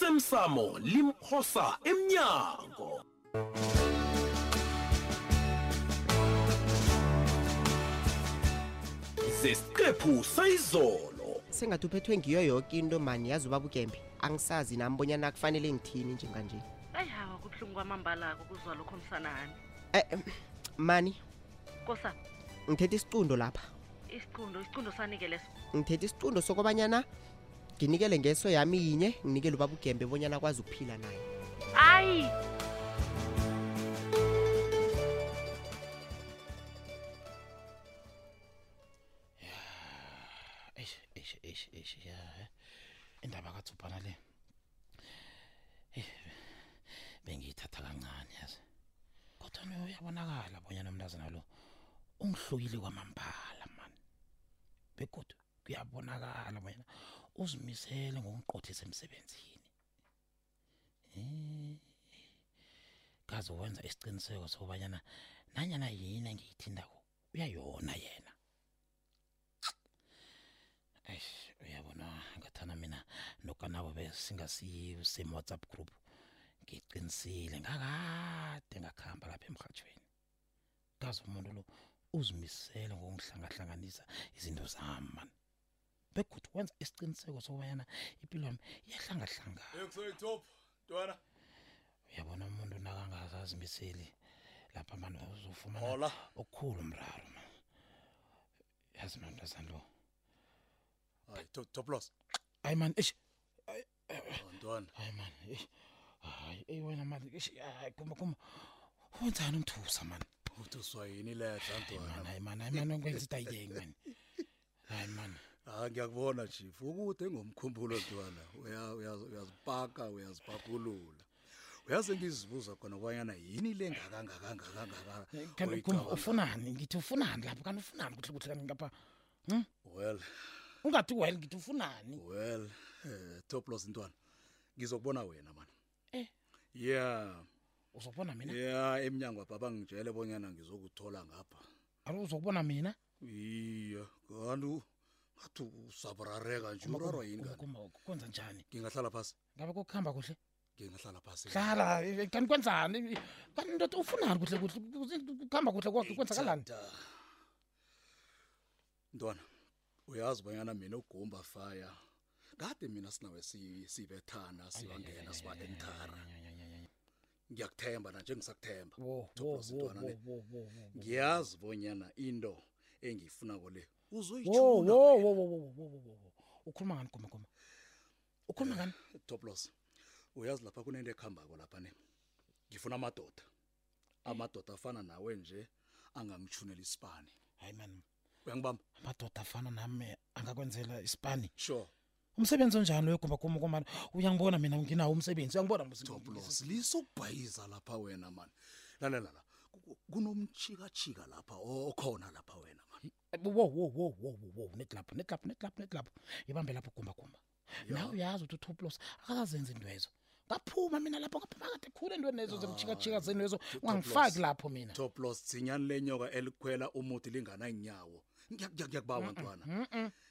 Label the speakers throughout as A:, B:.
A: osemsamo limphosa emnyango zesiqephu sayizolo
B: sengathi uphethwe ngiyo yoke into mani yazi ubaba ukembe angisazi nami bonyana kufanele ngithini njenganje
C: ayi hawa kubuhlungu kwamambalako kuzwa lokho msanami
B: Eh, em, mani
C: kosa
B: ngithethe isicundo lapha
C: isicundo isicundo sanike leso
B: ngithethe isicundo sokobanyana nginikele ngeso yami yinye nginikele ubaba ugembe bonyana akwazi ukuphila naye
C: ayi
D: eish eish eish eish ya he. indaba kathubhana le Eish, bengiyithatha kancane yazi kodwa no uyabonakala bonyana umntazana lo ungihlukile kwamambala mani begodwa kuyabonakala bonyana uzimisele ngokungiqothisa emsebenzini Eh, kaze wenza isiqiniseko sokubanyana nanyana yini engiyithindako uyayona yena eish uyabona ngathana mina nokanabo besingasiyo-same whatsapp group ngiqinisile ngakade ngakuhamba lapha emrhatshweni kazi umuntu lo uzimisele ngokungihlangahlanganisa izinto zami mani begudu wenza isiqiniseko sokubanyana impilo yami iyahlangahlangana
E: ekusayitop ntwana
D: uyabona umuntu nakangazazimiseli lapha mani uzofumana
E: hola
D: okukhulu mraro man yazi nomntazana lo
E: hayi to- toplos
D: hayi mani eish
E: Oh, ntwana
D: hayi mani eish hayi eyi wena mani eish hayi kuma kuma wenzani umthusa mani
E: uthi uswa yini leda
D: hayi mani
E: ntwana
D: hayi mani hayi mani ongwenza into ayiyeke mani hayi mani
E: ha Ah, ngiyakubona chief ukude ngomkhumbulo ntwana Uya- uya- uyazipaka uyazipakulula uyaze ngizibuza khona kwanyana yini le
D: kanti kuma
E: ngakangakangakangaka
D: ufunani ngithi ufunani lapha kanti ufunani kuhle kuhle kanti ngapha Hm?
E: well
D: ungathi well ngithi ufunani
E: well eh, toplos ntwana ngizokubona wena mani
D: Eh.
E: yeah
D: uzokubona mina
E: yeah emnyango apha bangitshele bonyana ngizokuthola ngapha
D: alo uzokubona mina
E: iya kanti u- ngathi usabrareka nje
D: Kuma, kuma,
E: urarwa yini
D: kuma,
E: kanti
D: kuma, kwenza njani
E: ngingahlala phasi
D: ngabe kokuhamba kuhle
E: ngingahlala phasi
D: hlala eh, eh, kanti kwenzani Eh, kanti ndoda ufunani kuhle kuhle kuhamba kuhle kwakhe
E: Eh,
D: kwenzakalani
E: Ithatha. mntwana uyazi bonyana mina ugumba fire kade mina sinawe si- sibethana sibangena sibalentara ngiyakuthemba nanje ngisakuthemba
D: Wo, wo,
E: Toplos
D: wo,
E: intwana
D: wo,
E: le.
D: wo, wo, wo.
E: ngiyazi bonyana into engiyifunako le
D: wo wo
E: uzoyitshuna
D: wo wo wo wo wo wo ukhuluma ngani goma goma ukhuluma ngani
E: toplos uyazi lapha kunento ekuhambako lapha ne ngifuna amadoda amadoda afana nawe nje angangitshunela isipani
D: hayi mani
E: uyangibamba
D: amadoda afana nami angakwenzela isipani
E: sure
D: umsebenzi onjani loyo goma goma gomani uyangibona mina nginawo umsebenzi uyangibona
E: toplos lisokubhayiza lapha wena mani lalela la ku- kunomchikachika lapha o- okhona lapha wena mani
D: wowowowowowo netlapho netlapho netlapho netlapho ibambe lapho gumba gumba nawe uyazi ukuthi utoplos akazazenza intwezo ngaphuma mina lapho ngaphuma kade khulu entweni ezo zemjikajika zentwezo ungangifaki lapho mina
E: toplos zinyani lenyoka elikhwela umuthi lingana nyawo ngiyakubawa ntwana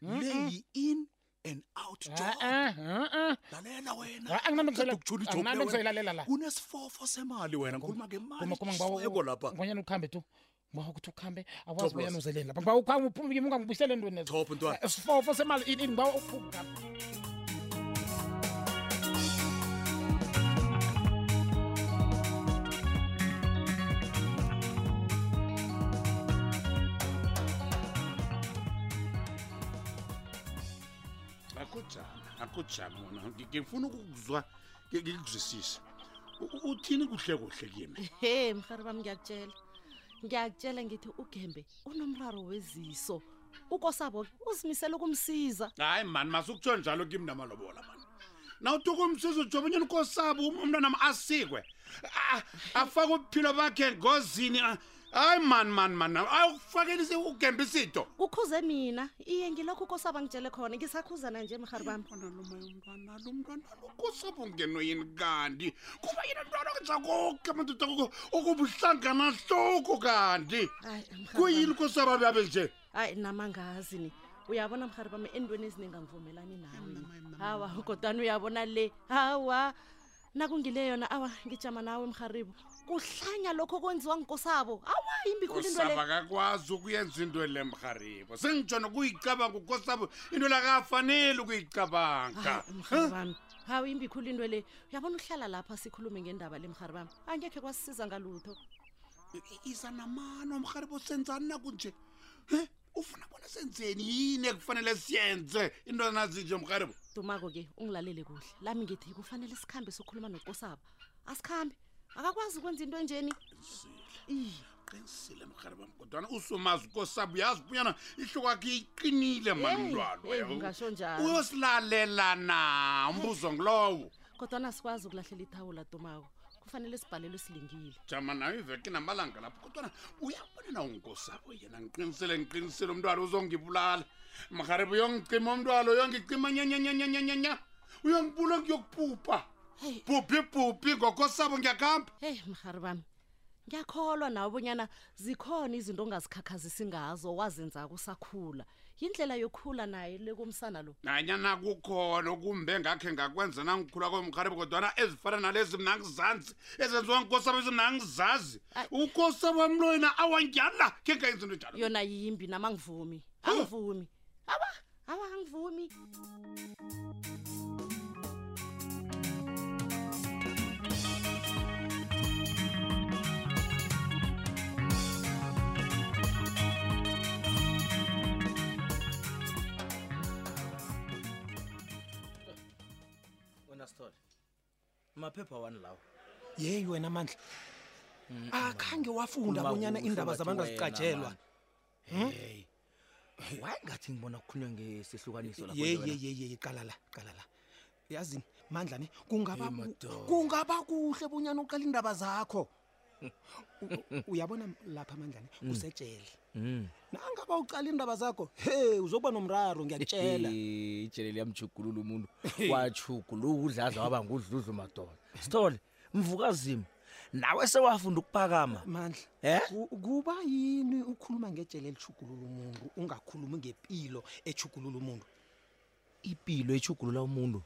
E: le yi-in and out
D: Eh, Ah,
E: job lalela wena Qeda ukutjhula ijob le wena.
D: anginantokuzoyilalela la
E: kunesifofo semali wena ngikhuluma
D: Goma, goma, ngibawa u-
E: ngemalieko lapha
D: ngibonyana ukhambe tu ngiba ukuthi ukhambe
E: Top
D: awazi bonyana
E: loss.
D: uzeleni lapha ngiba ukhambe uphume kimi ungangibuyisele entweni ezo
E: top ntwana
D: sifofo semali ini ngiba uphume
F: akujama akujama wona Ngi- ngifuna ukukuzwa ngi- ngikuzwisise U- u- uthini kuhle kuhle kimi
C: he mhari bami ngiyakutshela ngiyakutshela ngithi ugembe unomraro weziso ukosabo uzimisele ukumsiza
F: hayi mani masukutsho njalo kimi namalobola mani nawuthi ukumsiza utsho obunyeni ukosabo um- umntwanam asikwe A- afake ubuphilo bakhe engozini a- hayi mani mani mani awukufakelise ugembe isito
C: ukhuze mina iye ngilokho ukosabo angitshele khona ngisakhuzana nje mhari bami
F: Bona lo maye umntwana lo mntwana lo kusapho ngeno yini kanti kuba yini mntwana okwenza konke amadoda okubuhlanganahloko kanti
C: hayi mhari bami.
F: kuyini kusababe abe nje
C: hayi namangazi ni uyabona mhari bami endweni eziningi angivumelani nawe hawa kodwani uyabona le hawa nakungile yona awa ngijama nawe mharibo kuhlanya lokho kwenziwa ngikosabo awa imbikhulu into le
F: usaba kakwazi ukuyenza into le mharibo sengitshona ukuyicabanga ukosabo into lakafanele ukuyicabanga
C: mharibami hawu imbi khulu into le uyabona uhlala lapha sikhulume ngendaba le mharibami angekhe kwasisiza ngalutho
F: isanamano mharibo senzani nakunje e ufuna bona senzeni yini ekufanele siyenze into nazinje mharibo
C: dumako-ke ungilalele kuhle lami ngithi kufanele sikhambe sokhuluma nokosabo asikhambe akakwazi ukwenza into enjeni Iye,
F: qinisile mharibo kodwana usomazi ukosabo uyazi bunyana ihloko yakhe iqinile manilwalo
C: eyi, ungasho njalo.
F: uyosilalela na umbuzo ngilowo
C: kodwana sikwazi ukulahlela ithawula dumako kufanele sibhalelwe silingile
F: jama nayo iveke namalanga lapho kodwana uyabona na unkosabo yena ngiqinisele ngiqinisele umntwana uzongibulala mharibo uyongicima umntwana uyongicima nyanyanyanyanyanya uyongibula ngiyokubhubha
C: Hey.
F: bhubhi bhubhi ngokosabo ngiyakuhamba
C: heyi mharibami ngiyakholwa nawe bonyana zikhona izinto ongazikhakhazisi ngazo wazenzako usakhula yindlela yokhula naye lekomsana lo
F: nanyana kukhona okumbe ngakhe ngakwenza nangikhula komrharibo kodwana ezifana nalezi mna ngizanzi ezenziwa nkosabo ezimna ngizazi
C: Ay.
F: unkosabo wami lo yena awangyala khe ngayenza into njalo
C: yona yimbi nama ngivumi angivumi aba aba angivumi
G: wena sithole maphepha wani lawo
H: yeyi wena mandla akhange wafunda
G: Khuluma
H: bonyana
G: kuhle
H: indaba
G: bathi
H: zabantu
G: wena,
H: azicatshelwa
G: man.
E: Hmm?
G: heyi waye ngathi ngibona kukhulunywa ngesihlukaniso lapho nje wena.
H: yeyeyeyeyeyi qala la qala la yazini mandla ne kungaba
G: Hey,
H: ku-
G: madoda.
H: kungaba kuhle bonyana uqala iindaba zakho U- u- uyabona lapha mandla ne kusetshele
G: Mm.
H: nangaba uqala iindaba zakho he uzokuba nomraro ngiyakutshela
G: Eh, ijele liyamchugulula umuntu wachuguluka udladla waba ngudludlu madoda sithole mvukazima nawe sewafunda ukuphakama
H: mandla
G: Eh?
H: ku- kuba yini ukhuluma ngejele elishugulula umuntu ungakhulumi ngempilo echugulula umuntu Eh.
G: ipilo echugulula umuntu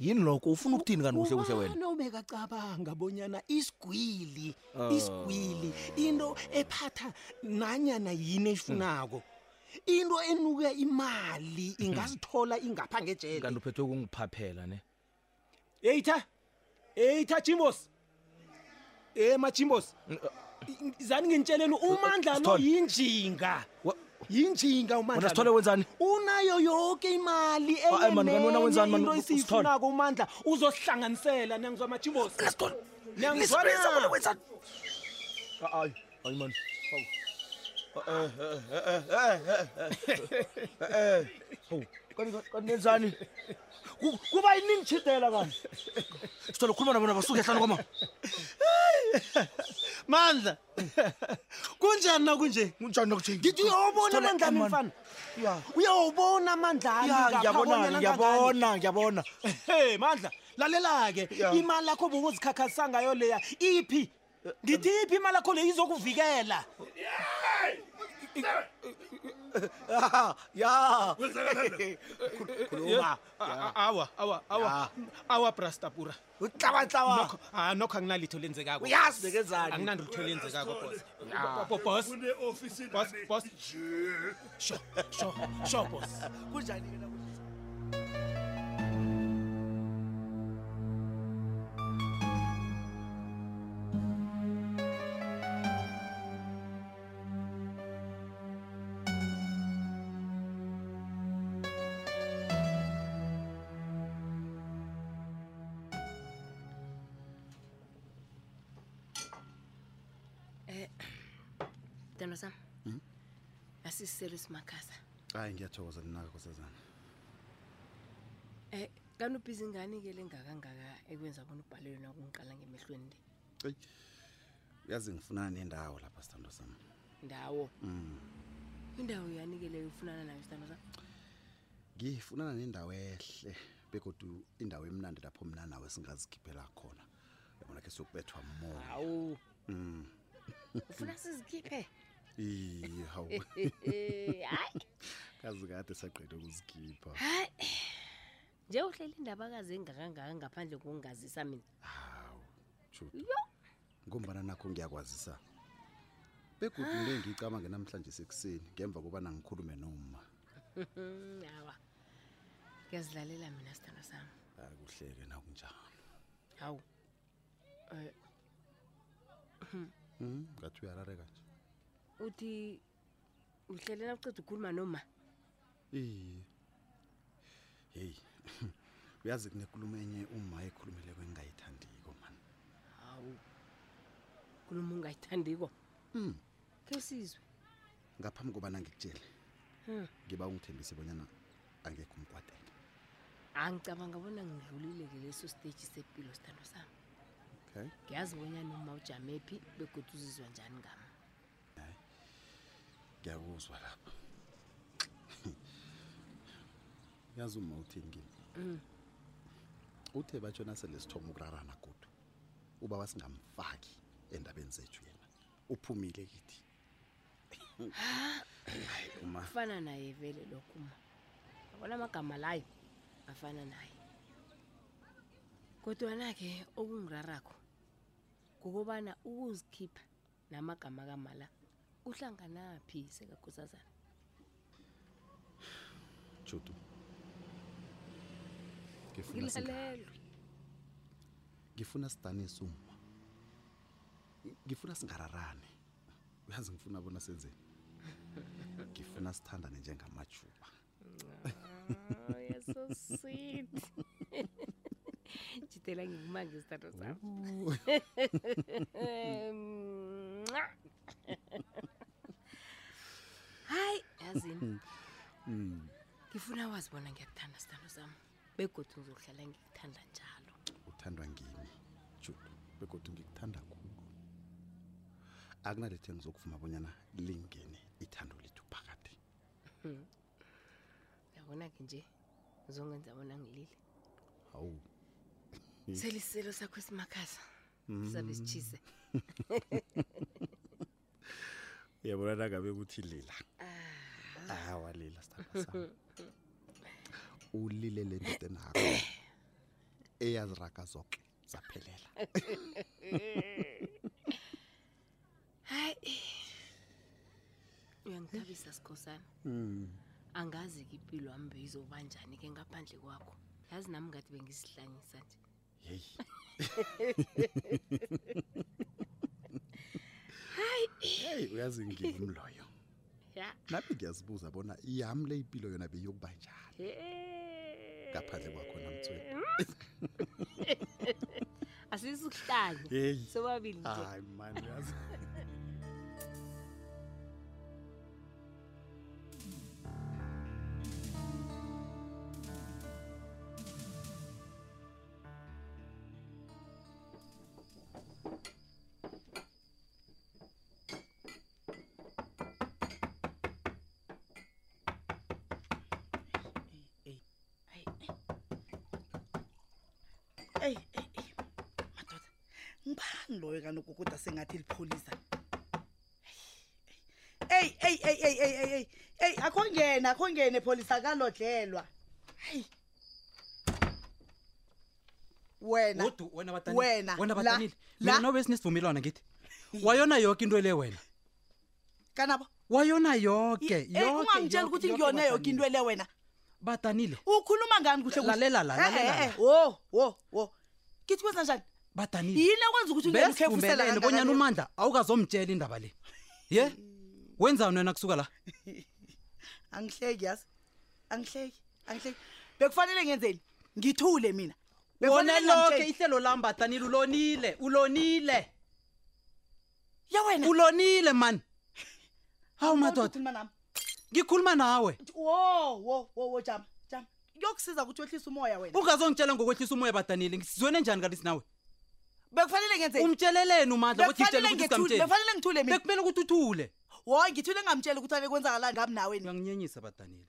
G: yini lokho ufuna ukuthini kanti kuhle kuhle wena
H: ubekacabanga bonyana isigwili isigwili into ephatha nanyana yini efunako into enuka imali ingazithola ingapha
G: kanti
H: ngejele
G: uphethwe ukungiphaphela ne
H: eyitha eyitha jimbos e majimbos
G: uh,
H: zani ngintshelelela umandla lo
G: Sithole.
H: yinjinga
G: uh, Wa-
H: yinjinga umandla
G: wena
H: lo.
G: sithole wenzani
H: unayo yoke imali
G: Ah, man, kanti wena wenzani, man?
H: enyenenye into
G: Sithole.
H: esiyifunako umandla uzosihlanganisela niyangizwa majimbosi Niyangizwa na?
G: kanenzani kuba yiningitshidela kani sithole khuluma nabona basuke hlanu kwama
H: mandla kunjani nakunje
G: kunjani nakutshengi
H: ngithi uyawubona
G: Sithole,
H: amandla ami
G: man.
H: mfana
G: Ya.
H: uyawubona amandla ami
G: Ya,
H: ngapha
G: ngiyabona
H: bonyana
G: ngiyabona ngiyabona
H: kangangani. he mandla lalela-ke
G: Ya.
H: imali yakho bokuzikhakhasisa ngayo leya iphi ngithi iphi imali yakho le izokuvikela ya ya khuluma
I: awa awa awa awa brastapura
H: uhlabahlaba
I: ah nokho anginalitho lenzekako
H: uyazi bekezani
I: anginandilutho lenzekako boss Bo- boss boss boss sho sho sho boss
J: mntana sam asisiselo simakhaza
E: Hmm? hayi ngiyathokoza ninaka nkosazana
J: um kanti ubhizi ngani-ke le ngakangaka ekwenza bona ubhalelwe nakungiqala ngemehlweni le
E: uyazi ngifunana nendawo lapha sithando sami
J: ndawo indawo yanikeleyo ufunana nayo sithandwa sam
E: ngifunana nendawo ehle begodu indawo emnandi lapho mna nawe singazikhiphela khona yabona ke siyokubethwa moya
J: hawu
E: Hmm.
J: ufuna sizikhiphe
E: iye hawu
J: hayi
K: kazi kade saqede ukuzikhipha
J: hayi nje uhleli indabakazi engakangaka ngaphandle kokungazisa mina
K: juda
J: yo
K: ngombana nakho ngiyakwazisa begudu into engiyicabange namhlanje sekuseni ngemva kobana ngikhulume noma
J: awa ngiyazilalela mina sithando sami
K: hayi kuhleke nakunjani
J: hawu eh,
K: um ngathi uyarareka nje
J: uthi uhlelela uceda ukhuluma noma
K: iye heyi uyazi kunekulumo enye uma ekhulumeleko engingayithandiko mani
J: hawu khuluma ungayithandiko
K: um
J: khe sizwe
K: ngaphambi kobana ngikutshele
J: Hmm.
K: ngiba ungithembise bonyana angekho umkwatela
J: angicabanga bona ngidlulile ke leso stage sepilo sithando sami
K: okay
J: ngiyazi bonyana uma ujame phi begoda uzizwa njani ngami
K: ngiyakuzwa lapha yazi uma uthengile
J: Mm.
K: uthe batshona sele sithoma ukurarana godu uba wasingamfaki endabeni zethu yena uphumile kithi hayi uma
J: kufana naye vele lokho uma yabona amagama layo afana naye kodwana-ke okungirarakho kukobana ukuzikhipha namagama kamala uhlanganaphi sekakhosazana
K: judu ngifuna singa-
J: ngilalelwe
K: ngifuna sidanise uma ngifuna singararani uyazi ngifuna bona senzeni ngifuna sithandane njengamajuba
J: yeso sweet jitela ngikumange isithato sami
K: Ooh.
J: Mwa. hayi yazini
K: Mm.
J: ngifuna wazi bona ngiyakuthanda sithando sami begodwa ngizohlala ngikuthanda njalo
K: uthandwa ngimi judu begodwa ngikuthanda khulu akunalethe engizokuvuma bonyana lingene ithando lethu phakathi
J: yabona-ke nje uzongenza bona ngilile
K: hawu
J: selisiselo sakho esimakhaza sabe sitshise
K: uyabona nangabe kuthi lila awa lila sithanda sam ulile le ndoda enakho eyaziraga zoke zaphelela
J: hayi uyangithabisa sikhosana angazi ke impilo yami beyizoba njani ke ngaphandle kwakho yazi nami ngathi bengisihlanyisa nje
K: yeyi
J: hayi
K: heyi uyazi ngimi loyo
J: ya
K: nami ngiyazibuza bona yami le impilo yona beyokuba njani
J: Hey.
K: ngaphandle kwakho namtsweni
J: asisukuhlanya
K: Hey.
J: sobabili nje
K: hayi mani uyazi
L: eyi eyi eyi madoda ngibani loyo kanoku kodwa sengathi lipholisa eyi eyi eyi eyi eyi eyi eyi eyi akho ngene akho ngene pholisa kalodlelwa hayi wena
M: Godu, wena batanile,
L: wena
M: wena
L: la-
M: batanile mina nawe sinesivumelwano ngithi wayona yoke into le wena
L: kanabo
M: wayona yoke
L: Eh, ungangitshela ukuthi ngiyone yoke into le wena
M: batanile
L: ukhuluma ngani kuhle kuhle?
M: Lalela la,
L: Eh, eh,
M: lalela la.
L: eh, wo wo wo kithi kwenza njani
M: batanile
L: yini ekwenza ukuthi ungene ukhefusela
M: besivumelene
L: kangaka
M: bonyana
L: le?
M: umandla awukazomtshela indaba le ye wenzani wena kusuka la
L: angihleki yazi angihleki angihleki bekufanele ngenzeni ngithule mina Bekufanele
M: wona loke
L: ngangitsheli.
M: ihlelo lam batanile ulonile ulonile
L: ya wena
M: ulonile mani hawu
L: madoda nami
M: ngikhuluma nawe
L: wo wo wo wo jama jama kuyokusiza ukuthi wehlise umoya wena
M: ungazongitshela ngokwehlisa umoya batanile ngisizwene njani kalisi nawe
L: bekufanele ngenzeni
M: umtsheleleni umandla ukuthi
L: Bekufanele
M: tshela ukuthi
L: ngithule,
M: singamtsheli.
L: bekufanele ngithule mina
M: bekumele ukuthi uthule
L: wo ngithule ngamtshela ukuthi abe kwenzakalani ngami nawe
M: uyanginyenyisa badanile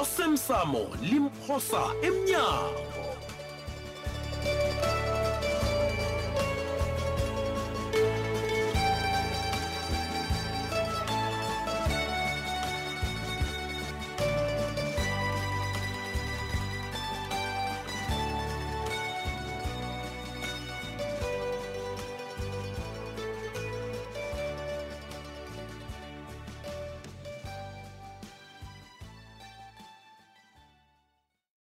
H: osemsamo limphosa emnyango